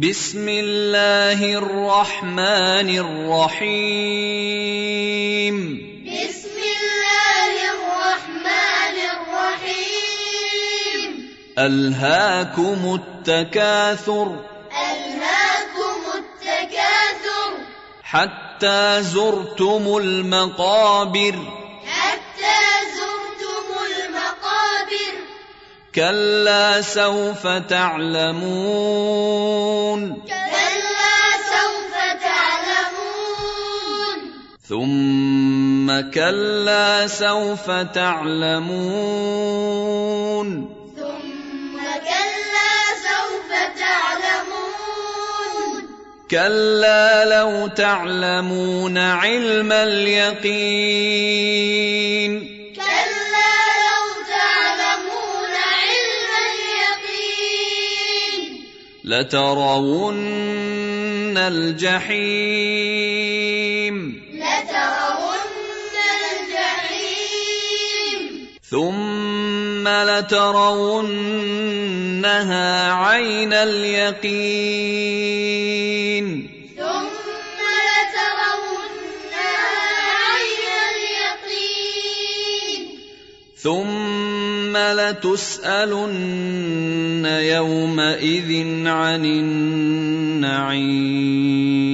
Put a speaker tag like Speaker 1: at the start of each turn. Speaker 1: بسم الله الرحمن الرحيم
Speaker 2: بسم الله الرحمن الرحيم
Speaker 1: ألهاكم التكاثر
Speaker 2: ألهاكم التكاثر
Speaker 1: حتى زرتم المقابر
Speaker 2: حتى زرتم المقابر
Speaker 1: كلا سوف تعلمون
Speaker 2: كلا سوف تعلمون
Speaker 1: ثم كلا سوف تعلمون
Speaker 2: ثم كلا سوف تعلمون
Speaker 1: كلا لو تعلمون علم اليقين
Speaker 2: كلا لو تعلمون علم اليقين
Speaker 1: لترون الجحيم
Speaker 2: لترون الجحيم
Speaker 1: ثم لترونها عين اليقين
Speaker 2: ثم لترونها عين اليقين
Speaker 1: ثم لتسالن يومئذ عن النعيم